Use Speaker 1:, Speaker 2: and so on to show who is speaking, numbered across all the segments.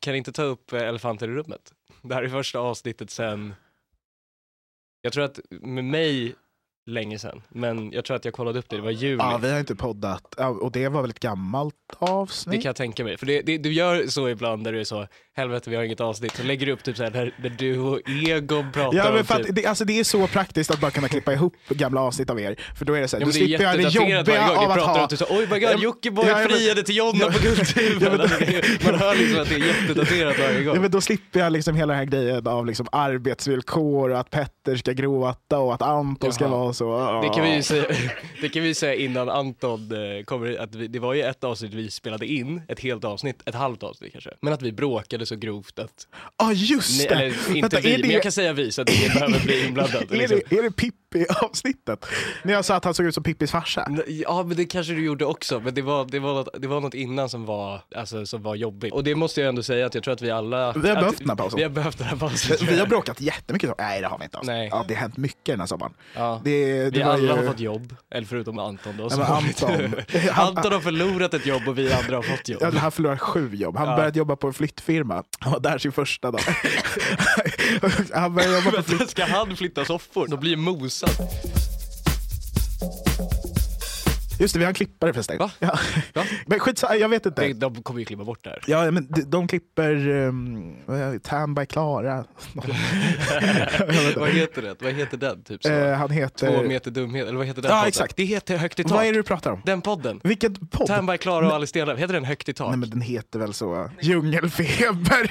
Speaker 1: kan inte ta upp eh, elefanter i rummet. Det här är första avsnittet sen, jag tror att med mig länge sen, men jag tror att jag kollade upp det, det var juli.
Speaker 2: Ja, vi har inte poddat. Ja, Och det var väl ett gammalt
Speaker 1: Det
Speaker 2: avsnitt?
Speaker 1: kan jag tänka mig. För det, det, du gör så ibland där du är så, helvete vi har inget avsnitt, så lägger du upp typ så här där, där du och Egon pratar
Speaker 2: Ja, men för
Speaker 1: om typ,
Speaker 2: att det, alltså det är så praktiskt att bara kunna klippa ihop gamla avsnitt av er. För då är det så här,
Speaker 1: Ja,
Speaker 2: du
Speaker 1: men det är
Speaker 2: slipper göra det
Speaker 1: jättedaterat varje
Speaker 2: jobbiga
Speaker 1: gång
Speaker 2: av
Speaker 1: ni
Speaker 2: att
Speaker 1: pratar
Speaker 2: ha...
Speaker 1: om typ så här, oj my
Speaker 2: Ja,
Speaker 1: god,
Speaker 2: men-
Speaker 1: Jockiboi
Speaker 2: ja, men-
Speaker 1: friade till Jonna
Speaker 2: Ja,
Speaker 1: på Guldtuben.
Speaker 2: ja, men-
Speaker 1: alltså, det- man hör liksom att det är jättedaterat varje gång.
Speaker 2: Ja, men då slipper jag liksom hela den här grejen av liksom arbetsvillkor och att Petter ska gråta och att Anton ska
Speaker 1: Jaha.
Speaker 2: vara så. Ja.
Speaker 1: Det kan, vi ju säga, det kan vi ju säga innan Anton eh, kommer hit, att vi, det var ju ett avsnitt vi spelade in, ett helt avsnitt, ett halvt avsnitt kanske. Men att vi bråkade så grovt att,
Speaker 2: Ja, just
Speaker 1: nej,
Speaker 2: det!
Speaker 1: eller inte
Speaker 2: Vänta,
Speaker 1: vi,
Speaker 2: är det,
Speaker 1: men jag kan säga vi så att ingen behöver bli inblandad.
Speaker 2: är
Speaker 1: Liksom.
Speaker 2: det, är det Pippi-avsnittet? När jag sa att han såg ut som Pippis farsa?
Speaker 1: N- Ja men det kanske du gjorde också, men det var, det var, något, det var något innan som var, alltså, som var jobbigt. Och det måste jag ändå säga att jag tror att vi alla...
Speaker 2: Vi har
Speaker 1: att,
Speaker 2: behövt den här pausen.
Speaker 1: Vi har behövt den här pausen.
Speaker 2: Vi har bråkat jättemycket. så- Nej, det har vi inte. Alltså.
Speaker 1: Nej.
Speaker 2: Ja, det har hänt mycket den här sommaren.
Speaker 1: ja.
Speaker 2: Det, det
Speaker 1: Vi
Speaker 2: var
Speaker 1: alla har
Speaker 2: ju-
Speaker 1: fått jobb, eller förutom Anton då.
Speaker 2: Nej,
Speaker 1: som
Speaker 2: men
Speaker 1: har fått-
Speaker 2: Anton.
Speaker 1: Anton har förlorat ett jobb och vi andra har fått jobb.
Speaker 2: Ja, han förlorar sju jobb. Han
Speaker 1: Ja.
Speaker 2: började jobba på en flyttfirma. Han var där sin första dag. han började jobba på flytt...
Speaker 1: Vänta, ska han flytta soffor? Då blir det mosat.
Speaker 2: Just det, vi har en klippare förresten.
Speaker 1: Va?
Speaker 2: Ja.
Speaker 1: Va?
Speaker 2: Men skit, jag vet inte.
Speaker 1: De, de kommer ju klippa bort det här.
Speaker 2: Ja, men de, de klipper um, Tan by Klara.
Speaker 1: vad heter det? Vad heter den? Typ så?
Speaker 2: Eh, han
Speaker 1: Två
Speaker 2: heter...
Speaker 1: meter dumhet, eller vad heter den
Speaker 2: Ja,
Speaker 1: podden?
Speaker 2: exakt.
Speaker 1: Det heter Högt i tak.
Speaker 2: Vad är det du pratar om?
Speaker 1: Den podden.
Speaker 2: Vilken podd?
Speaker 1: Tan by Klara och Alice Stenlöf, heter den Högt i tak?
Speaker 2: Nej, men den heter väl så? Djungelfeber.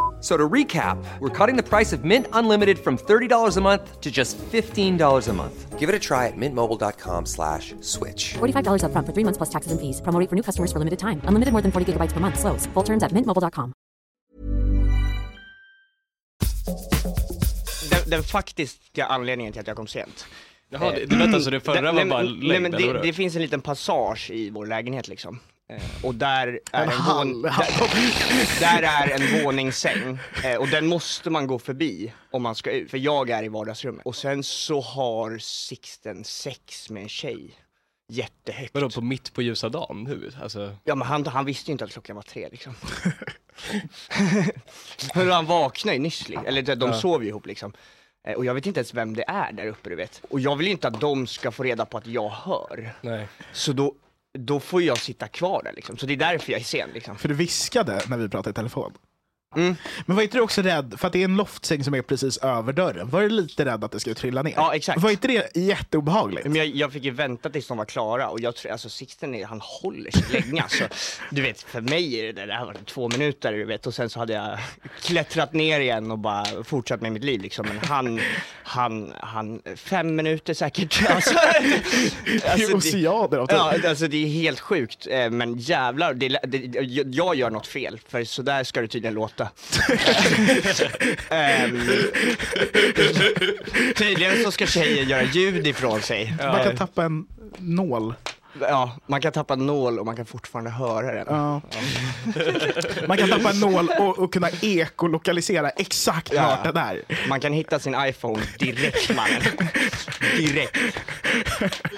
Speaker 3: a-" So to recap, we're cutting the price of Mint Unlimited from $30 a month to just $15 a month. Give it a try at mintmobile.com slash switch.
Speaker 4: $45 upfront for three months plus taxes and fees. Promo rate for new customers for limited time. Unlimited more than 40 gigabytes per month. Slows. Full terms at mintmobile.com.
Speaker 5: Den, den faktiska anledningen till att jag kom sent.
Speaker 1: Jaha, det, det, vänta, så det förra
Speaker 5: Den-
Speaker 1: var
Speaker 5: nej,
Speaker 1: bara
Speaker 5: men-
Speaker 1: längd,
Speaker 5: nej, men
Speaker 1: eller
Speaker 5: det,
Speaker 1: vadå?
Speaker 5: det finns en liten passage i vår lägenhet liksom. Eh, Och där är
Speaker 2: En
Speaker 5: en,
Speaker 2: hall.
Speaker 5: vån, där, där är en våningssäng Eh, och den måste man gå förbi om man ska ut, för jag är i vardagsrummet. Och sen så har Sixten sex med en tjej, jättehögt.
Speaker 1: Vadå, på mitt på ljusa dagen nu? Alltså,
Speaker 5: Ja men han, han visste ju inte att klockan var tre liksom. Men han vaknade ju nyss, li- eller de de sov ju ihop liksom. Eh, Och jag vet inte ens vem det är där uppe du vet. Och jag vill ju inte att de ska få reda på att jag hör.
Speaker 1: nej.
Speaker 5: Så då, då får jag sitta kvar där liksom. Så det är därför jag är sen liksom.
Speaker 2: För du viskade när vi pratade i telefon.
Speaker 5: Mm.
Speaker 2: Men var inte du också rädd, för att det är en loftsäng som är precis över dörren, var du lite rädd att det skulle trilla ner?
Speaker 5: Ja, exakt.
Speaker 2: Var inte det jätteobehagligt?
Speaker 5: Men jag, jag fick ju vänta tills de var klara och jag tror, alltså Sixten är, han håller sig länge alltså. Du vet, för mig är det där, det här var två minuter du vet och sen så hade jag klättrat ner igen och bara fortsatt med mitt liv liksom. Men han, han, han, fem minuter säkert. Alltså,
Speaker 2: det är oceaner av tid.
Speaker 5: Ja, alltså det är helt sjukt. eh, Men jävlar, det, det, jag- jag gör något fel, för så där ska det tydligen låta. Ehm, tydligen så ska tjejer göra ljud ifrån sig.
Speaker 2: Man kan tappa en nål.
Speaker 5: Ja, man kan tappa nål och man kan fortfarande höra den.
Speaker 2: Ja. Man kan tappa en nål och, och kunna ekolokalisera exakt
Speaker 5: Ja.
Speaker 2: vart den är.
Speaker 5: Man kan hitta sin iPhone direkt mannen. Direkt.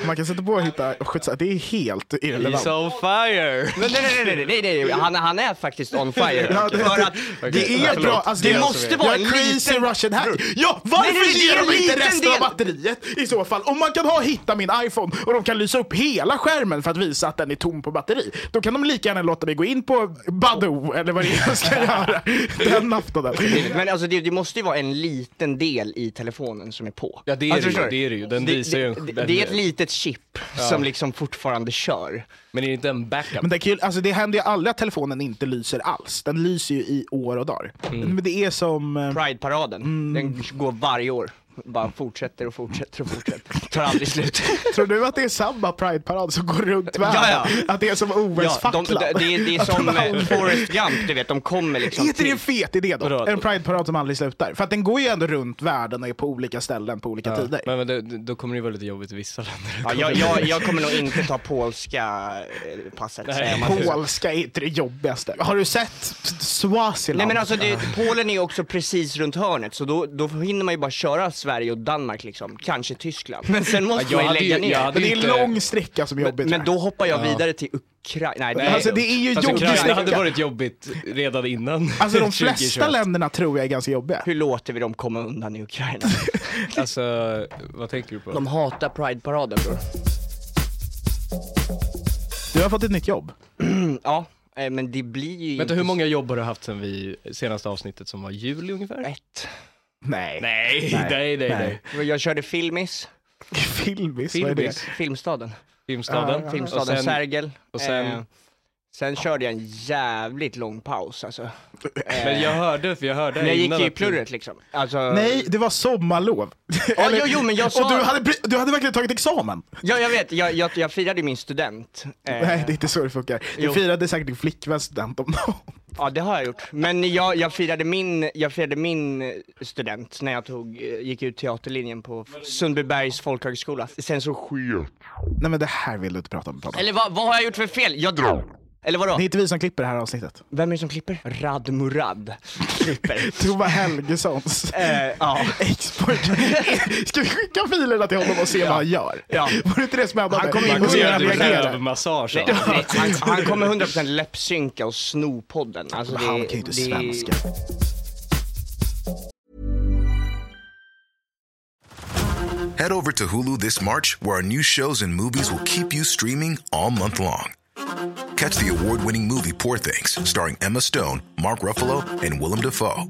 Speaker 2: Man kan sätta på och hitta och skjutsa. Det är helt irrelevant.
Speaker 1: He's on fire!
Speaker 5: Nej, nej, nej, nej, nej, nej, nej. Han, han är faktiskt on fire.
Speaker 2: Ja, det-
Speaker 5: för att
Speaker 2: Det är bra. Alltså,
Speaker 5: det
Speaker 2: är-
Speaker 5: måste vara
Speaker 2: jag
Speaker 5: en
Speaker 2: är crazy
Speaker 5: liten... Mm.
Speaker 2: russian hack. Ja, varför
Speaker 5: Nej, nej, det är
Speaker 2: ger
Speaker 5: en
Speaker 2: de inte
Speaker 5: liten
Speaker 2: resten av
Speaker 5: del.
Speaker 2: batteriet i så fall? Om man kan ha hitta min iPhone och de kan lysa upp hela skärmen för att visa att den är tom på batteri. Då kan de lika gärna låta mig gå in på Badoo eller vad det är jag ska göra den aftonen.
Speaker 5: Men alltså det, det måste ju vara en liten del i telefonen som är på.
Speaker 1: Ja, det är
Speaker 5: alltså,
Speaker 1: det ju,
Speaker 5: förstår du?
Speaker 1: det är det ju. Den visar ju en-
Speaker 5: det, det är ett litet chip som liksom fortfarande kör.
Speaker 1: Men är det inte en backup?
Speaker 2: Men det, är kul, alltså det händer ju aldrig att telefonen inte lyser alls. Den lyser ju i år och dagar.
Speaker 5: Mm.
Speaker 2: Men det är som... eh,
Speaker 5: Pride-paraden,
Speaker 1: Mm.
Speaker 5: den går varje år. Bara fortsätter och fortsätter och fortsätter. Tar aldrig slut.
Speaker 2: Tror du att det är samma Pride-parad som går runt världen?
Speaker 5: Ja, ja.
Speaker 2: Att det är som
Speaker 5: de,
Speaker 2: OS-facklan?
Speaker 5: det, det är- det är
Speaker 2: Att de
Speaker 5: som eh,
Speaker 2: aldrig-
Speaker 5: Forrest Gump, du vet, de kommer liksom
Speaker 2: Är inte det en fet idé
Speaker 1: Vadå?
Speaker 2: då? En Pride-parad som aldrig slutar. För att den går ju ändå runt världen och är på olika ställen på olika tider.
Speaker 1: Men, men det, då kommer det ju vara lite jobbigt i vissa länder.
Speaker 5: Ja, jag, jag, jag kommer nog inte ta polska eh, passet.
Speaker 1: Nej.
Speaker 5: säger man.
Speaker 2: Polska är inte det jobbigaste. Har du sett Swaziland?
Speaker 5: Nej men alltså det, Polen är ju också precis runt hörnet så då, då hinner man ju bara köra Sverige och Danmark liksom, kanske Tyskland. Men sen måste
Speaker 1: jag
Speaker 5: man ju
Speaker 1: hade
Speaker 5: lägga
Speaker 1: ju-
Speaker 5: ner.
Speaker 1: jag hade
Speaker 2: men det är
Speaker 1: inte-
Speaker 2: en lång sträcka som är jobbig.
Speaker 5: men, men
Speaker 2: tror
Speaker 5: då hoppar jag vidare till Ukraina. Nej,
Speaker 2: jag.
Speaker 5: nej.
Speaker 2: alltså det är ju
Speaker 1: Fast
Speaker 2: jobbig
Speaker 1: Ukraina hade
Speaker 2: sträcka.
Speaker 1: varit jobbigt redan innan.
Speaker 2: Alltså de
Speaker 1: 2021.
Speaker 2: flesta länderna tror jag är ganska jobbiga.
Speaker 5: Hur låter vi dem komma undan i Ukraina?
Speaker 1: Alltså, vad tänker du på?
Speaker 5: De hatar Pride-paraden bror.
Speaker 2: Du har fått ett nytt jobb.
Speaker 5: Ja, eh, men det blir ju
Speaker 1: Vänta,
Speaker 5: inte
Speaker 1: hur många jobb har du haft sen vi senaste avsnittet som var juli ungefär?
Speaker 5: rätt.
Speaker 2: Nej.
Speaker 1: Nej, nej, nej, nej. nej.
Speaker 5: Jag körde Filmis,
Speaker 2: Filmis, vad är
Speaker 1: Filmis.
Speaker 2: det?
Speaker 5: Filmstaden.
Speaker 1: Filmstaden.
Speaker 5: Filmstaden
Speaker 1: Och sen-
Speaker 5: Sergel.
Speaker 1: och sen-
Speaker 5: eh, sen körde jag en jävligt lång paus alltså. Eh,
Speaker 1: Men jag hörde, för jag hörde
Speaker 5: men jag gick
Speaker 1: innan
Speaker 5: ju i
Speaker 1: att du-
Speaker 5: plurret liksom. Alltså,
Speaker 2: Nej, det var sommarlov.
Speaker 5: Ja, jo, jo, men jag sa-
Speaker 2: Och du hade, pre- du hade verkligen tagit examen.
Speaker 5: Ja, jag vet, jag, jag, jag firade min student. Eh,
Speaker 2: Nej, det är inte så det funkar. Du
Speaker 5: Jo.
Speaker 2: firade säkert din flickväns student om dagen.
Speaker 5: Ja, det har jag gjort. Men jag, jag, firade min, jag firade min eh, student när jag tog, eh, gick ut teaterlinjen på F- Sundbybergs folkhögskola. Sen så sket.
Speaker 2: Nej men det här vill du inte prata om. Prata. om.
Speaker 5: Eller vad, vad har jag gjort för fel? Jag drog. Eller vadå?
Speaker 2: Det är inte vi som klipper det här avsnittet.
Speaker 5: Vem är det som klipper? Rad Murad klipper.
Speaker 2: Tova Helgessons
Speaker 5: eh, ja.
Speaker 2: ex-pojkvän. Ska vi skicka filerna till honom och se vad han gör?
Speaker 5: Ja.
Speaker 2: Var det inte det som hände?
Speaker 5: Han kommer ju
Speaker 1: Man kommer
Speaker 5: Hur
Speaker 1: göra
Speaker 5: jag
Speaker 1: typ
Speaker 5: reagerar.
Speaker 1: rövmassage. alltså.
Speaker 5: Nej, nej, han, han kommer 100% läppsynka och sno podden. Alltså, det,
Speaker 2: Han kan ju inte
Speaker 5: det-
Speaker 2: svenska.
Speaker 6: Head over to Hulu this March, where our new shows and movies will keep you streaming all month long. Catch the award winning movie Poor Things, starring Emma Stone, Mark Ruffalo, and Willem Dafoe.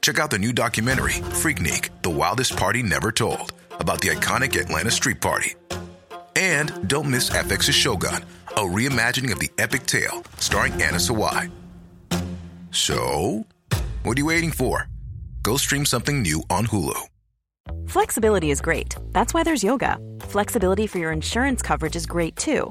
Speaker 6: Check out the new documentary, Freaknik The Wildest Party Never Told, about the iconic Atlanta Street Party. And don't miss FX's Shogun, a reimagining of the epic tale, starring Anna Sawai. So, what are you waiting for? Go stream something new on Hulu.
Speaker 7: Flexibility is great. That's why there's yoga. Flexibility for your insurance coverage is great too.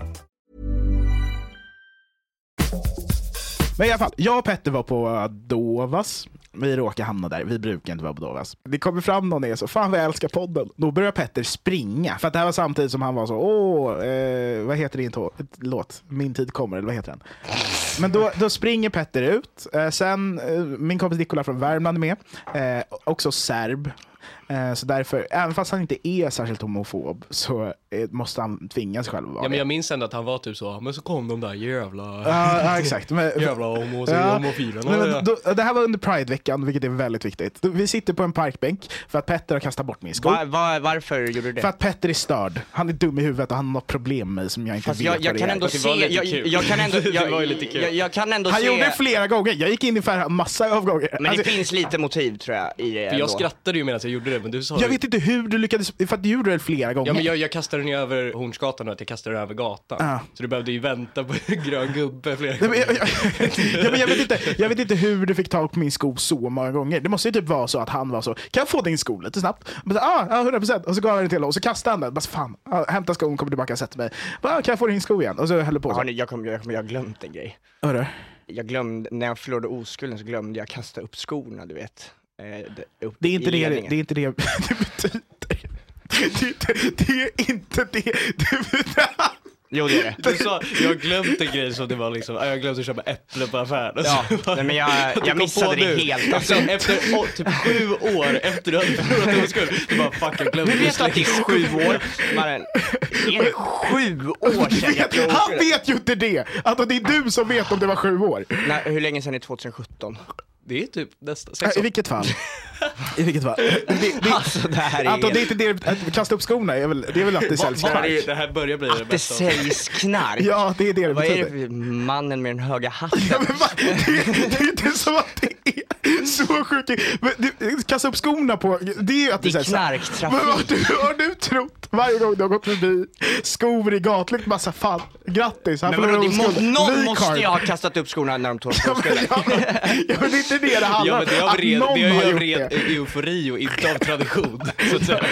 Speaker 2: Men i alla fall, jag och Petter var på Dovas. Vi råkade hamna där, vi brukar inte vara på Dovas. Det kommer fram någon och är så, fan vad jag älskar podden. Då börjar Petter springa, för att det här var samtidigt som han var så, åh, eh, vad heter din tå- låt? Min tid kommer, eller vad heter den? Men då, då springer Petter ut. Eh, sen, eh, min kompis Nikola från Värmland är med, eh, också serb. Eh, så därför, även fast han inte är särskilt homofob, så eh, måste han tvinga sig själv att vara
Speaker 1: Ja, men
Speaker 2: det.
Speaker 1: jag minns ändå att han var typ så, men så kom de där jävla...
Speaker 2: Ja, ja, exakt. Men,
Speaker 1: Jävla homo- homofilerna,
Speaker 2: Nej,
Speaker 1: ja.
Speaker 2: men, då, det här var under Pride-veckan, vilket är väldigt viktigt. Vi sitter på en parkbänk för att Petter har kastat bort min sko.
Speaker 5: Va, va, varför gjorde du det?
Speaker 2: För att Petter är störd. Han är dum i huvudet och han har något problem med mig som jag inte
Speaker 5: Fast
Speaker 2: vet
Speaker 5: jag, jag
Speaker 2: vad
Speaker 5: kan
Speaker 2: det
Speaker 5: ändå
Speaker 2: är.
Speaker 1: Det var
Speaker 5: se,
Speaker 1: lite
Speaker 5: jag,
Speaker 1: kul.
Speaker 5: jag kan ändå,
Speaker 1: Det
Speaker 5: jag,
Speaker 1: var ju lite kul.
Speaker 5: Jag, jag kan ändå
Speaker 2: Han
Speaker 5: se,
Speaker 2: gjorde det flera gånger. Jag gick in i fär- massa avgångar.
Speaker 5: men det
Speaker 2: Alltså,
Speaker 5: finns lite motiv tror jag i det
Speaker 1: För jag
Speaker 5: ändå.
Speaker 1: skrattade ju medan jag gjorde det, men du sa
Speaker 2: Jag
Speaker 1: ju-
Speaker 2: vet inte hur du lyckades, för att du gjorde det flera gånger.
Speaker 1: Ja men jag, jag kastade den ju över Hornsgatan och att jag kastade den över gatan.
Speaker 2: Ja.
Speaker 1: Så du behövde ju vänta på en grön gubbe flera
Speaker 2: Nej, men
Speaker 1: gånger.
Speaker 2: jag, jag, ja, men jag, vet inte, jag vet inte hur du fick tag på min sko så många gånger. Det måste ju typ vara så att han var så, kan jag få din sko lite snabbt? Men, så, ah, ja, 100 procent. Och så gav jag den till honom och så kastade han den. Bara, så, fan, ah, hämta skon, kommer tillbaka och sätter mig. Bara, ah, kan jag få din sko igen? Och så höll det på så.
Speaker 5: Hörni, jag kommer, jag kommer, jag har glömt en grej.
Speaker 2: Hörru.
Speaker 5: Jag glömde, när jag förlorade oskulden så glömde jag kasta upp skorna, du vet. Eh, d- upp
Speaker 2: Det är inte
Speaker 5: i
Speaker 2: det
Speaker 5: ledningen.
Speaker 2: det, är inte det, det betyder. Det är, inte, det är inte det det betyder.
Speaker 5: Jo, det är det.
Speaker 1: Du sa, jag har glömt en grej som det var liksom, "Ah, jag glömde köpa äpple på affären.
Speaker 5: Ja, nej, men jag- jag
Speaker 1: Du kom
Speaker 5: missade
Speaker 1: på
Speaker 5: det
Speaker 1: nu.
Speaker 5: helt.
Speaker 1: Alltså, efter å, typ sju år efter du hade förlorat din skuld, du bara fuck jag glömde
Speaker 5: Du vet att det är sju år, Maren. Det är sju år sedan jag
Speaker 2: Vet- Han
Speaker 5: provade.
Speaker 2: vet ju inte det! Alltså, det är du som vet om det var sju år.
Speaker 5: Nej, hur länge sedan är 2017?
Speaker 1: Det är typ nästan
Speaker 2: Äh,
Speaker 1: sex
Speaker 2: I
Speaker 1: år.
Speaker 2: vilket fall. I vilket fall. Det, det,
Speaker 5: Alltså det här är
Speaker 2: Anton, det är
Speaker 5: helt...
Speaker 2: inte det, att kasta upp skorna är väl, det är väl att det säljs
Speaker 1: det, här är,
Speaker 2: knark?
Speaker 1: det här börjar bli det
Speaker 5: Att det
Speaker 1: bästa.
Speaker 5: säljs knark.
Speaker 2: Ja, det är det det
Speaker 5: Vad är det
Speaker 2: betyder.
Speaker 5: för mannen med den höga
Speaker 2: Ja,
Speaker 5: hatten?
Speaker 2: men va? Det, det är inte som att det är så sjukt. Men du, Kasta upp skorna på, det är ju att
Speaker 5: Det är
Speaker 2: så här-
Speaker 5: knarktrafik.
Speaker 2: Men vad har du, har du trott varje gång du har gått förbi skor i gatlykt, massa fan, grattis, han
Speaker 5: Men vadå,
Speaker 2: förlorade
Speaker 5: det må,
Speaker 2: oskulden.
Speaker 5: någon
Speaker 2: Vi
Speaker 5: måste
Speaker 2: karl.
Speaker 5: ju ha kastat upp skorna när de tog
Speaker 2: Ja, men,
Speaker 5: skorna.
Speaker 2: ja, men, ja, men det är inte det det handlar
Speaker 1: Ja
Speaker 2: om.
Speaker 1: men det är av
Speaker 2: att
Speaker 1: ren,
Speaker 2: någon
Speaker 1: det är
Speaker 2: har
Speaker 1: ju av
Speaker 2: gjort
Speaker 1: ren
Speaker 2: det.
Speaker 1: eufori och inte av tradition. Så att säga.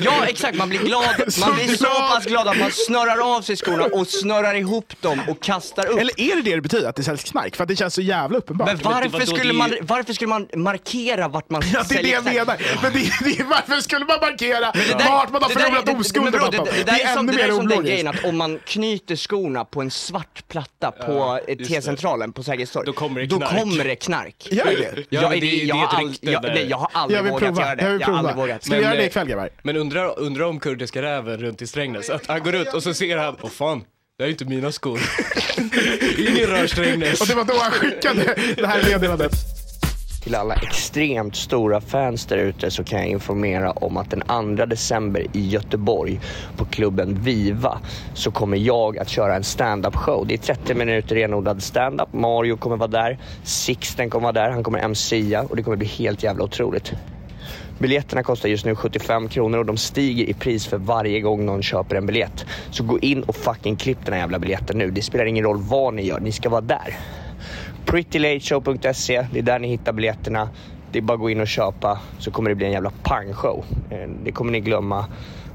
Speaker 5: Ja exakt, man blir glad,
Speaker 2: Så
Speaker 5: man blir så
Speaker 2: glad.
Speaker 5: pass glad att man snurrar av sig skorna och snurrar ihop dem och kastar upp.
Speaker 2: Eller är det det det betyder, att det säljs knark? För att det känns så jävla uppenbart.
Speaker 5: Men varför
Speaker 1: vadå,
Speaker 5: skulle,
Speaker 1: det är
Speaker 5: man,
Speaker 1: ju-
Speaker 5: varför skulle man markera vart man
Speaker 2: Ja, det är det
Speaker 5: säljer
Speaker 2: jag
Speaker 5: knark?
Speaker 2: menar. Men det, är- det, är- varför skulle man markera
Speaker 5: Det där-
Speaker 2: vart man har
Speaker 5: det där-
Speaker 2: förlorat
Speaker 5: det- det-
Speaker 2: oskulden?
Speaker 5: men bro,
Speaker 2: Anton?
Speaker 5: Det, det,
Speaker 2: Det
Speaker 5: där är
Speaker 2: är
Speaker 5: som,
Speaker 2: ännu
Speaker 5: det där
Speaker 2: mer
Speaker 5: är som den grejen
Speaker 2: ologiskt.
Speaker 5: att om man knyter skorna på en svart platta på eh,
Speaker 1: just det.
Speaker 5: T-centralen på Sägers torg,
Speaker 1: Då kommer det
Speaker 5: då
Speaker 1: knark.
Speaker 5: kommer det knark.
Speaker 2: Gör det?
Speaker 1: Ja,
Speaker 5: Jag
Speaker 1: men
Speaker 5: är-
Speaker 1: det är ju-
Speaker 5: jag
Speaker 1: det är
Speaker 5: har
Speaker 1: ett
Speaker 5: all-
Speaker 1: rykte
Speaker 5: jag-
Speaker 1: där.
Speaker 5: nej, Jag har
Speaker 2: Jag
Speaker 5: aldrig
Speaker 2: vill
Speaker 5: vågat göra
Speaker 2: prova.
Speaker 5: det.
Speaker 2: Jag vill
Speaker 5: har aldrig
Speaker 2: prova.
Speaker 5: vågat.
Speaker 2: Ska vi
Speaker 1: Men,
Speaker 2: göra det
Speaker 1: eh,
Speaker 2: ikväll grabbar?
Speaker 1: Men undra, undra om kurdiska räven runt i Strängnäs, att han går ut och så ser han, åh fan, det här är inte mina skor. Ingen rör Strängnäs.
Speaker 2: Och det var då han skickade det här meddelandet.
Speaker 5: Till alla extremt stora fans där ute så kan jag informera om att den 2 december i Göteborg på klubben Viva så kommer jag att köra en stand-up show. Det är 30 minuter renodlad stand-up. Mario kommer vara där, Sixten kommer vara där, han kommer MCa och det kommer bli helt jävla otroligt. Biljetterna kostar just nu 75 kronor och de stiger i pris för varje gång någon köper en biljett. Så gå in och fucking klipp den här jävla biljetten nu. Det spelar ingen roll vad ni gör, ni ska vara där. prettylateshow.se. Det är där ni hittar biljetterna. Det är bara att gå in och köpa så kommer det bli en jävla pangshow. Eh, Det kommer ni glömma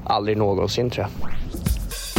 Speaker 5: aldrig någonsin tror jag.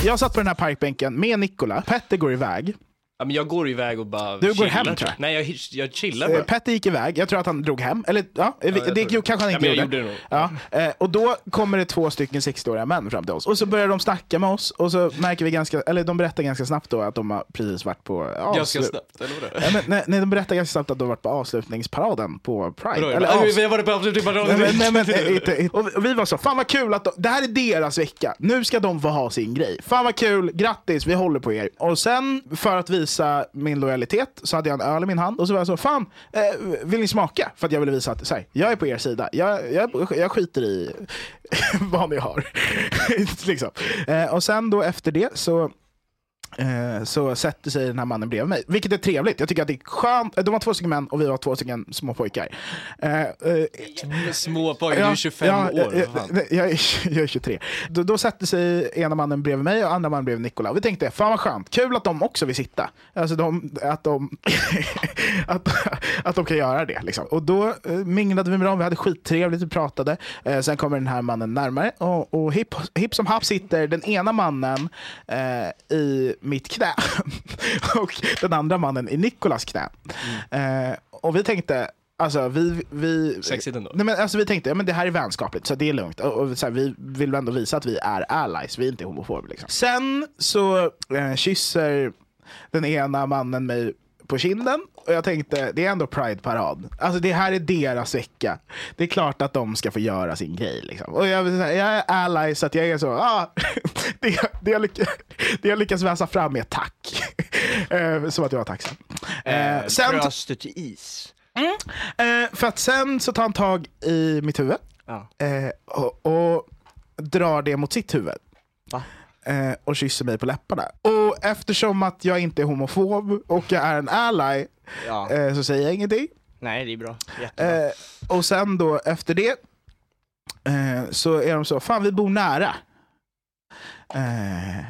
Speaker 2: Jag satt på den här parkbänken med Nikola. Petter går iväg.
Speaker 1: Ja, men jag går iväg och bara
Speaker 2: Du går
Speaker 1: chillar. typ.
Speaker 2: hem, tror jag.
Speaker 1: Nej jag, hi- jag chillar
Speaker 2: Eh,
Speaker 1: bara.
Speaker 2: Petter gick iväg. Jag tror att han drog hem. Eller ja, vi-
Speaker 1: jag
Speaker 2: det
Speaker 1: tror det.
Speaker 2: kanske han
Speaker 1: Ja,
Speaker 2: inte
Speaker 1: men jag
Speaker 2: gjorde.
Speaker 1: gjorde det
Speaker 2: ja. eh, Och då kommer det två stycken 60-åriga män fram till oss. Och så börjar de snacka med oss. Och så märker vi ganska, eller de berättar ganska snabbt då att de har precis varit på ja,
Speaker 1: Jag ska
Speaker 2: avslu-
Speaker 1: snabbt, eller vadå?
Speaker 2: Ja, men, nej, nej, de berättar ganska snabbt att de har varit på avslutningsparaden på Pride.
Speaker 1: Vadå? typ,
Speaker 2: Eller
Speaker 1: Ja,
Speaker 2: avs-
Speaker 1: Vi har varit på
Speaker 2: Nej,
Speaker 1: avslutningsparaden.
Speaker 2: men, nej, men, eh, inte, inte. Och vi- och vi var så, fan vad kul att de, det här är deras vecka. Nu ska de få ha sin grej. Fan vad kul, grattis, vi håller på er. Och sen för att visa min lojalitet så hade jag en öl i min hand och så var jag så, fan eh, vill ni smaka? För att jag ville visa att så här, jag är på er sida. Jag, jag, jag skiter i vad ni har. liksom. eh, och sen då efter det så Eh, så sätter sig den här mannen bredvid mig, vilket är trevligt. Jag tycker att det är skönt. Eh, De var två stycken män och vi var två stycken små pojkar. Eh, eh,
Speaker 1: Små pojkar, du är 25
Speaker 2: ja, eh,
Speaker 1: år.
Speaker 2: ja,
Speaker 1: vad fan.
Speaker 2: nej, Jag, är, jag är 23. Då, då satte sig ena mannen bredvid mig och andra mannen bredvid Nikola. Och vi tänkte, fan vad skönt, kul att de också vill sitta. Alltså de, att, de, att, att de kan göra det. Liksom. Och då eh, minglade vi med dem, vi hade skittrevligt, vi pratade. Eh, sen kommer den här mannen närmare och, och hipp hip som happ sitter den ena mannen eh, i mitt knä och den andra mannen i Nikolas knä. Eh, och vi tänkte, Alltså vi, vi,
Speaker 1: Mm. Sexigt ändå.
Speaker 2: Nej, men alltså, vi tänkte, ja, men det här är vänskapligt, så det är lugnt. Och, och, så här, vi vill ändå visa att vi är allies, vi är inte homofober. Liksom. Sen så eh, kysser den ena mannen mig på kinden och jag tänkte, det är ändå Pride-parad. Alltså det här är deras vecka. Det är klart att de ska få göra sin grej. Liksom. Och jag, vill säga, jag är allies, så att jag är så, ah, det, det, jag lyckas, det jag lyckas väsa fram är tack. Eh, så att jag var tacksam. Eh, sen,
Speaker 5: Bröstet till is.
Speaker 2: Eh, för att sen så tar han tag i mitt huvud
Speaker 5: Ja.
Speaker 2: eh, och, och drar det mot sitt huvud.
Speaker 5: Va?
Speaker 2: Eh, och kysser mig på läpparna. Och eftersom att jag inte är homofob och jag är en ally
Speaker 5: Ja.
Speaker 2: eh, så säger jag ingenting.
Speaker 5: Nej det är bra, jättebra.
Speaker 2: Eh, och sen då efter det eh, så är de så, fan vi bor nära. Eh,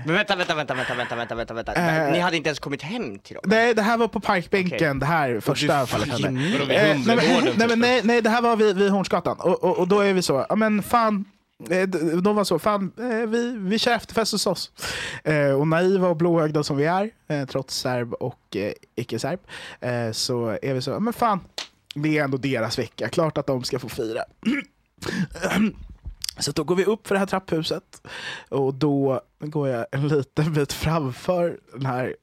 Speaker 5: Men vänta, vänta, vänta, vänta, vänta, vänta, vänta, vänta.
Speaker 2: Eh.
Speaker 5: Ni hade inte ens kommit hem till dem?
Speaker 2: Nej, det här var på parkbänken,
Speaker 5: Okej.
Speaker 2: det här första fallet hände.
Speaker 5: fucking
Speaker 2: Eh,
Speaker 1: Vadå, vid typ?
Speaker 2: nej, men,
Speaker 1: Humlegården
Speaker 2: nej,
Speaker 1: först?
Speaker 2: men, nej, nej, det här var vid, vid Hornsgatan. Och, och, och då är vi så, ja men fan, eh, d- de var så, fan eh, vi, vi kör efterfest hos oss. Eh, Och naiva och blåögda som vi är, eh, trots serb och eh, icke-serb, eh, så är vi så, ja men fan, det är ändå deras vecka, klart att de ska få fira. Så då går vi upp för det här trapphuset och då går jag en liten bit framför den här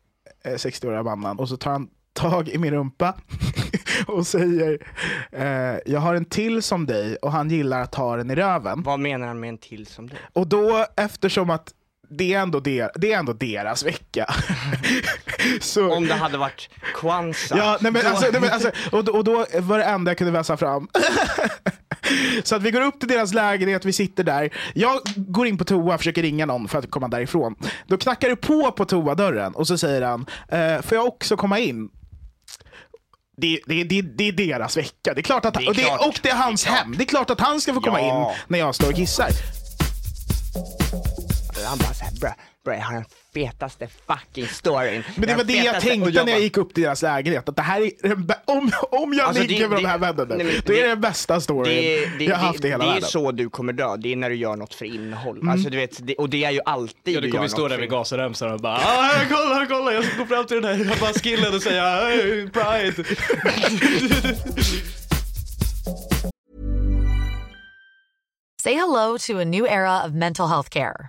Speaker 2: eh, 60-åriga mannen och så tar han tag i min rumpa och säger eh, jag har en till som dig och han gillar att ha den i röven.
Speaker 5: Vad menar han med en till som dig?
Speaker 2: Och då eftersom att det är ändå, der, det är ändå deras vecka. så,
Speaker 5: Om det hade varit Kwanzaa.
Speaker 2: Ja, nej men,
Speaker 5: då-
Speaker 2: alltså, nej, men, alltså, och, då- och då var det enda jag kunde vässa fram. Så att vi går upp till deras lägenhet, vi sitter där. Jag går in på toa och försöker ringa någon för att komma därifrån. Då knackar det på på toadörren och så säger han, eh, får jag också komma in? Det, det, det, det är deras vecka. Det är klart att han,
Speaker 5: Det är
Speaker 2: och, det,
Speaker 5: klart.
Speaker 2: och det är hans
Speaker 5: Det är klart.
Speaker 2: hem. Det är klart att han ska få komma
Speaker 5: Ja.
Speaker 2: in när jag står och gissar.
Speaker 5: Han bara såhär, bra, bra, jag har den fetaste fucking storyn.
Speaker 2: Men det
Speaker 5: Den
Speaker 2: var det jag
Speaker 5: fetaste- och
Speaker 2: tänkte när
Speaker 5: bara-
Speaker 2: jag gick upp till deras lägenhet. Att det här är den bä- om, om jag
Speaker 5: Alltså, det-
Speaker 2: ligger med de
Speaker 5: det-
Speaker 2: här vännerna,
Speaker 5: nej, men
Speaker 2: då är
Speaker 5: det-
Speaker 2: det den bästa storyn
Speaker 5: Det, det,
Speaker 2: jag har haft i
Speaker 5: det,
Speaker 2: hela
Speaker 5: det är
Speaker 2: världen. Mm.
Speaker 5: så du kommer dö, det är när du gör något för innehåll. Alltså, du vet, det, och det är ju alltid
Speaker 1: Ja, du kommer
Speaker 5: gör
Speaker 1: ju stå
Speaker 5: något
Speaker 1: där
Speaker 5: för
Speaker 1: vid
Speaker 5: innehåll.
Speaker 1: gasremsan och bara ah, kolla, kolla, jag ska gå fram till den här bara skillen och säga "Hey, pride.
Speaker 8: Say hello to a new era of mental health care.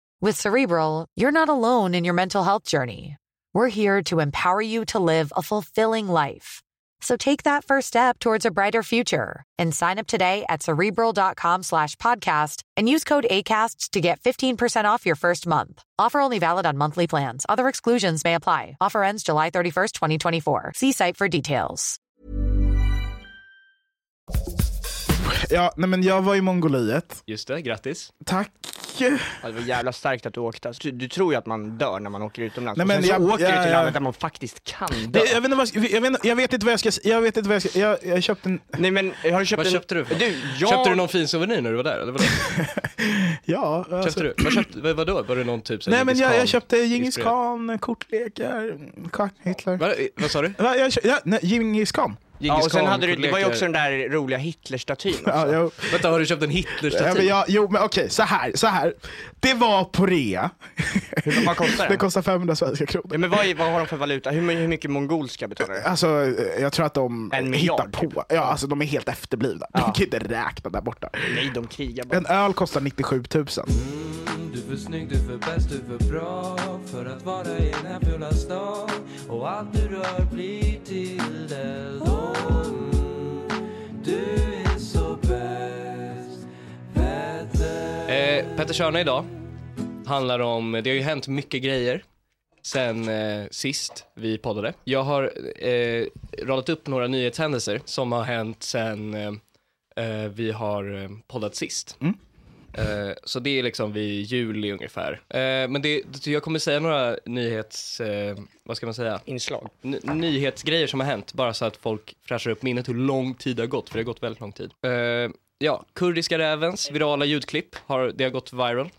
Speaker 8: With Cerebral, you're not alone in your mental health journey. We're here to empower you to live a fulfilling life. So take that first step towards a brighter future and sign up today at cerebral.com slash podcast and use code ACAST to get 15% off your first month. Offer only valid on monthly plans. Other exclusions may apply. Offer ends July 31st, 2024. See site for details.
Speaker 2: Ja, nej men jag var i Mongoliet.
Speaker 1: Just det, grattis.
Speaker 2: Tack.
Speaker 5: Ja, det var jävla starkt att du åkte. Alltså, du, du tror ju att man dör när man åker utomlands.
Speaker 2: Nej,
Speaker 5: Nej,
Speaker 2: men
Speaker 5: men och sen så
Speaker 2: jag-
Speaker 5: åker du
Speaker 2: jag-
Speaker 5: till landet
Speaker 2: jag-
Speaker 5: där man faktiskt kan dö.
Speaker 2: Jag, jag, vet inte vad, jag, vet, jag vet- jag vet inte vad jag ska Jag vet inte vad jag ska Jag, jag köpte en...
Speaker 5: Nej men har du köpt
Speaker 1: Vad
Speaker 5: en...
Speaker 1: köpte du för något?
Speaker 5: du jag... Alltså-
Speaker 1: Köpte du någon fin souvenir när du var där? Eller vadå?
Speaker 2: Ja. alltså-
Speaker 1: Köpte du? Vad köpte, vad, vadå? Var det någon typ sån
Speaker 2: Nej men
Speaker 1: Djingis
Speaker 2: jag,
Speaker 1: Khan-
Speaker 2: jag köpte Djingis
Speaker 1: inspirerad?
Speaker 2: Khan, kortlekar, kak, Hitler. Va?
Speaker 1: Va, eh, vad sa du?
Speaker 2: Jag, kö- ja, nej, Djingis Khan.
Speaker 5: Ja,
Speaker 1: Djingis
Speaker 5: och sen
Speaker 1: Khan,
Speaker 5: hade du, det var ju
Speaker 1: kortlekar.
Speaker 5: också den där roliga Hitlerstatyn också.
Speaker 2: Ja, jo.
Speaker 1: Vänta, har du köpt en
Speaker 2: Ja, men
Speaker 1: Hitler-staty?
Speaker 2: jag, jo men okej, så här, så här. Det var på rea.
Speaker 5: Hur- Vad kostar
Speaker 2: Det
Speaker 5: den?
Speaker 2: kostar 500 svenska
Speaker 5: Ja,
Speaker 2: kronor.
Speaker 5: men vad, är, vad har de för valuta? Hur, my- hur mycket mongolska betalar du?
Speaker 2: Alltså eh, jag tror att de
Speaker 5: En
Speaker 2: hittar
Speaker 5: miljard,
Speaker 1: typ.
Speaker 2: på. Ja, alltså de är helt efterblivna. De kan inte räkna där borta.
Speaker 5: Nej, de krigar bara.
Speaker 2: En öl kostar 97 000.
Speaker 1: Mm.
Speaker 9: Du är för snygg, du är för bäst, du är för bra för att vara i den här fula stan och allt du rör blir till eld Mm, Du är så bäst, väder
Speaker 1: Eh, Petter Körne idag handlar om, det har ju hänt mycket grejer sen eh, sist vi poddade. Jag har eh, radat upp några nyhetshändelser som har hänt sen eh, eh, vi har eh, poddat sist. Eh, så det är liksom vid juli ungefär. Eh, men det, jag kommer säga några nyhets, eh, vad ska man säga?
Speaker 5: Inslag.
Speaker 1: N- nyhetsgrejer som har hänt, bara så att folk fräschar upp minnet hur lång tid det har gått, för det har gått väldigt lång tid. Eh, ja, Kurdiska rävens virala ljudklipp, har, det har gått viral.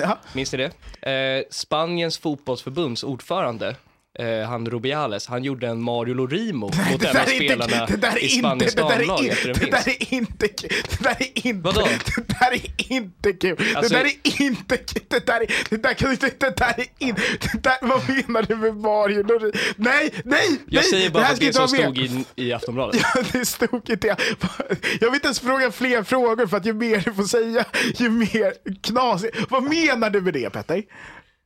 Speaker 2: Ja.
Speaker 1: Minns ni det? Eh, Spaniens fotbollsförbunds ordförande, eh, han Rubiales, han gjorde en Mario Lorimo mot en av spelarna i Spaniens
Speaker 2: det där är
Speaker 1: damlag
Speaker 2: in-
Speaker 1: efter en
Speaker 2: Det där
Speaker 1: vinst.
Speaker 2: är inte kul. Det där är inte,
Speaker 1: Vadå?
Speaker 2: det där är inte kul.
Speaker 1: Alltså-
Speaker 2: det där är inte kul. Det där, är, det där kan du inte, det där är inte, det där, vad menar du med Mario Lori? Nej, nej,
Speaker 1: Jag
Speaker 2: nej!
Speaker 1: säger bara
Speaker 2: det här
Speaker 1: att
Speaker 2: ska
Speaker 1: det
Speaker 2: inte
Speaker 1: som
Speaker 2: vara
Speaker 1: stod
Speaker 2: med.
Speaker 1: i, i Aftonbladet.
Speaker 2: Det stod inte jag. Jag vill inte ens fråga fler frågor för att ju mer du får säga, ju mer knas. Vad menar du med det Petter?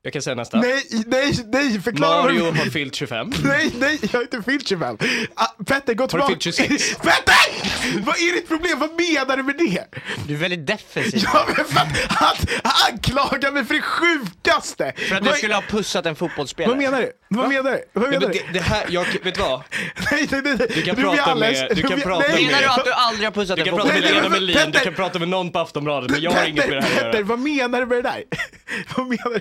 Speaker 1: Jag kan säga nästa.
Speaker 2: Nej, nej, nej, förklara.
Speaker 1: Mario har fyllt 25.
Speaker 2: Nej, nej, jag har inte fyllt 25. Ah, Petter, gå tillbaka.
Speaker 1: fyllt 26?
Speaker 2: Petter! Vad är ditt problem? Vad menar du med det?
Speaker 5: Du är väldigt defensiv.
Speaker 2: Ja, men för att han han anklagar mig för det sjukaste.
Speaker 5: För att du
Speaker 2: vad,
Speaker 5: skulle ha pussat en fotbollsspelare.
Speaker 2: vad menar du? Vad menar du? Vad
Speaker 1: Nej, men
Speaker 2: menar du?
Speaker 1: det, det här, jag, vet du vad?
Speaker 2: Nej, nej, nej.
Speaker 1: Du kan
Speaker 2: blir
Speaker 1: prata
Speaker 2: alldeles-
Speaker 1: med- du kan
Speaker 2: blir-
Speaker 1: prata
Speaker 2: nej.
Speaker 5: Menar du att du aldrig har pussat
Speaker 1: Du
Speaker 5: en
Speaker 1: kan prata med
Speaker 2: Nej,
Speaker 5: fotbollsspelare?
Speaker 2: nej,
Speaker 1: Lena
Speaker 2: men
Speaker 1: Melin, du
Speaker 2: Petter-
Speaker 1: kan prata med någon på Aftonbladet, men jag har inget med det här att
Speaker 2: Petter,
Speaker 1: göra.
Speaker 2: vad menar du med det där? Vad menar du?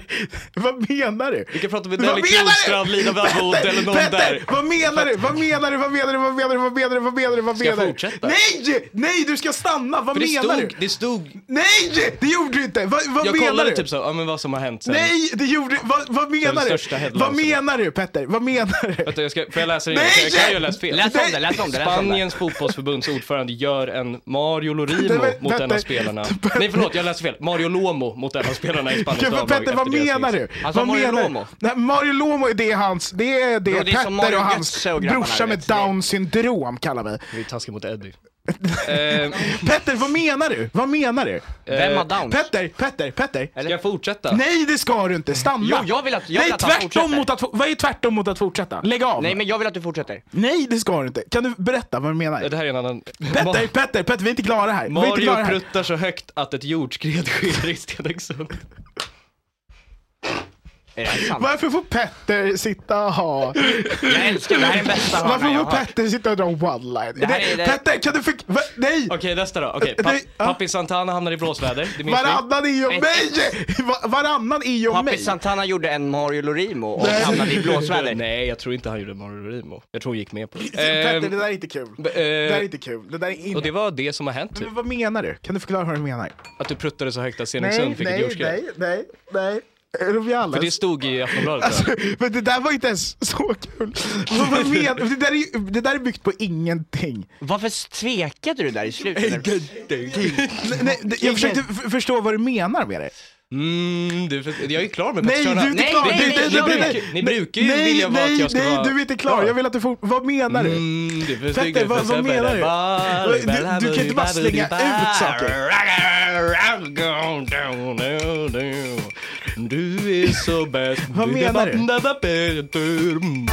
Speaker 2: Vad menar du?
Speaker 1: Du kan prata med
Speaker 2: Vad
Speaker 1: Nelly
Speaker 2: menar du?
Speaker 1: Krostrand, Lina Wabod eller någon
Speaker 2: Petter,
Speaker 1: där.
Speaker 2: vad menar du? Vad menar du? Vad menar du? Vad menar du? Vad menar du? Vad menar du? Vad
Speaker 1: Ska jag
Speaker 2: menar du?
Speaker 1: fortsätta?
Speaker 2: Nej! Nej, du ska stanna! Vad
Speaker 1: För det
Speaker 2: menar
Speaker 1: stod,
Speaker 2: du?
Speaker 1: det stod,
Speaker 2: Nej! Det gjorde du inte! Vad, vad
Speaker 1: jag
Speaker 2: menar
Speaker 1: kollade
Speaker 2: du?
Speaker 1: typ så, ja men vad som har hänt sen.
Speaker 2: Nej, det gjorde Vad, vad menar
Speaker 1: största
Speaker 2: du?
Speaker 1: headline
Speaker 2: Vad
Speaker 1: som-
Speaker 2: menar du Petter? Vad menar du?
Speaker 1: Vänta, jag ska, får jag läsa det igen?
Speaker 2: Nej!
Speaker 1: Jag kan ju ha läst fel.
Speaker 5: Läs om det, läs om det, läs om det.
Speaker 1: Spaniens fotbollsförbunds ordförande gör en Mario Lorimo
Speaker 2: Petter,
Speaker 1: mot en av
Speaker 2: Petter,
Speaker 1: spelarna.
Speaker 2: Petter.
Speaker 1: Nej förlåt, jag läste fel. Mario Lomo mot en av spelarna i Spaniens
Speaker 2: Ja, men
Speaker 1: landslag.
Speaker 2: Petter, vad
Speaker 1: efter deras
Speaker 2: menar du?
Speaker 1: vinst.
Speaker 5: Han sa
Speaker 2: Vad
Speaker 5: Alltså, Mario
Speaker 2: menar du?
Speaker 5: Lomo.
Speaker 2: Nej, Mario Lomo, det är hans, det är det,
Speaker 5: Bro, det är som
Speaker 2: Petter
Speaker 5: Mario
Speaker 2: och hans
Speaker 5: Götze och grabbarna,
Speaker 2: brorsa med
Speaker 5: vet du, det är-
Speaker 2: down syndrom kallar vi.
Speaker 1: Vi är taskiga mot Eddie. eh,
Speaker 2: Petter, vad menar du? Vad menar du?
Speaker 5: Vem har downs?
Speaker 2: Petter, Petter, Petter.
Speaker 1: ska jag fortsätta?
Speaker 2: Nej, det ska du inte. Stanna.
Speaker 5: Jo, jag vill att- jag
Speaker 2: Nej,
Speaker 5: vill att han
Speaker 2: tvärtom
Speaker 5: fortsätter.
Speaker 2: mot att, vad är tvärtom mot att fortsätta? Lägg av.
Speaker 5: Nej, men jag vill att du fortsätter. Eh,
Speaker 2: Nej, det ska du inte. Kan du berätta vad du menar?
Speaker 1: Det här är en annan...
Speaker 2: Petter, Petter, Petter, vi är inte klara här. vi är inte klara
Speaker 1: Mario
Speaker 2: här.
Speaker 1: pruttar så högt att ett jordskred sker i Stenungsund.
Speaker 5: Är det här sant?
Speaker 2: Varför får Petter sitta och ha...
Speaker 5: Jag älskar det. Det här är den bästa
Speaker 2: Varför
Speaker 5: hörnan jag
Speaker 2: får
Speaker 5: har hört.
Speaker 2: Petter sitta och dra one-line?
Speaker 5: Det här är- det-
Speaker 2: Petter, kan du för... Va? Nej!
Speaker 1: Okej, nästa då. Okej,
Speaker 2: Nej,
Speaker 1: Pap-
Speaker 2: ja.
Speaker 1: Pappi Santana hamnar i blåsväder. Det minns vi.
Speaker 2: Varannan är ju om mig! Va- Varannan är ju om
Speaker 5: Papi
Speaker 2: mig.
Speaker 5: Santana gjorde en Mario Lorimo och
Speaker 2: Nej.
Speaker 5: hamnade i blåsväder.
Speaker 1: Nej, jag tror inte han gjorde Mario Lorimo. Jag tror hon gick med på det.
Speaker 2: Petter, det
Speaker 1: Ehm,
Speaker 2: där är inte kul.
Speaker 1: b- eh,
Speaker 2: Det där är inte kul. Det där är inte...
Speaker 1: och det var det som har hänt typ.
Speaker 2: Men vad menar du? Kan du förklara vad du menar?
Speaker 1: Att du pruttade så högt att
Speaker 2: Nej,
Speaker 1: Stenungsund fick ett
Speaker 2: nej,
Speaker 1: jordskred.
Speaker 2: nej, nej, nej. Är du med
Speaker 1: För det
Speaker 2: alldeles?
Speaker 1: stod i Aftonbladet tror
Speaker 2: Alltså,
Speaker 1: jag.
Speaker 2: men det där var inte ens så kul. Vad vad menar du? Det där är ju- Det där är byggt på ingenting.
Speaker 5: Varför tvekade du där i slutet? Typ.
Speaker 2: Nej, nej, det- jag försökte f- förstå vad du menar med det.
Speaker 1: Mm, du, för- jag är klar med
Speaker 2: Nej, du
Speaker 1: Pettersson.
Speaker 2: är inte klar.
Speaker 5: nej,
Speaker 2: Du-
Speaker 5: nej,
Speaker 2: du-
Speaker 5: ni
Speaker 2: du-
Speaker 1: brukar- ni brukar ju
Speaker 2: nej,
Speaker 1: vilja vara att
Speaker 2: nej,
Speaker 1: jag ska
Speaker 2: nej,
Speaker 1: vara
Speaker 2: du är inte klar.
Speaker 1: bra.
Speaker 2: Jag vill att du får... Vad menar du?
Speaker 1: Mm, du är för snygg, du
Speaker 2: Petter,
Speaker 1: är för
Speaker 2: vad, vad
Speaker 1: söt,
Speaker 2: menar du?
Speaker 1: Bali,
Speaker 2: Du-
Speaker 1: Bali,
Speaker 2: Du, du kan inte bara
Speaker 1: Bali,
Speaker 2: slänga
Speaker 1: Bali,
Speaker 2: ut saker.
Speaker 1: Du är så bäst.
Speaker 2: Vad menar du?
Speaker 1: du?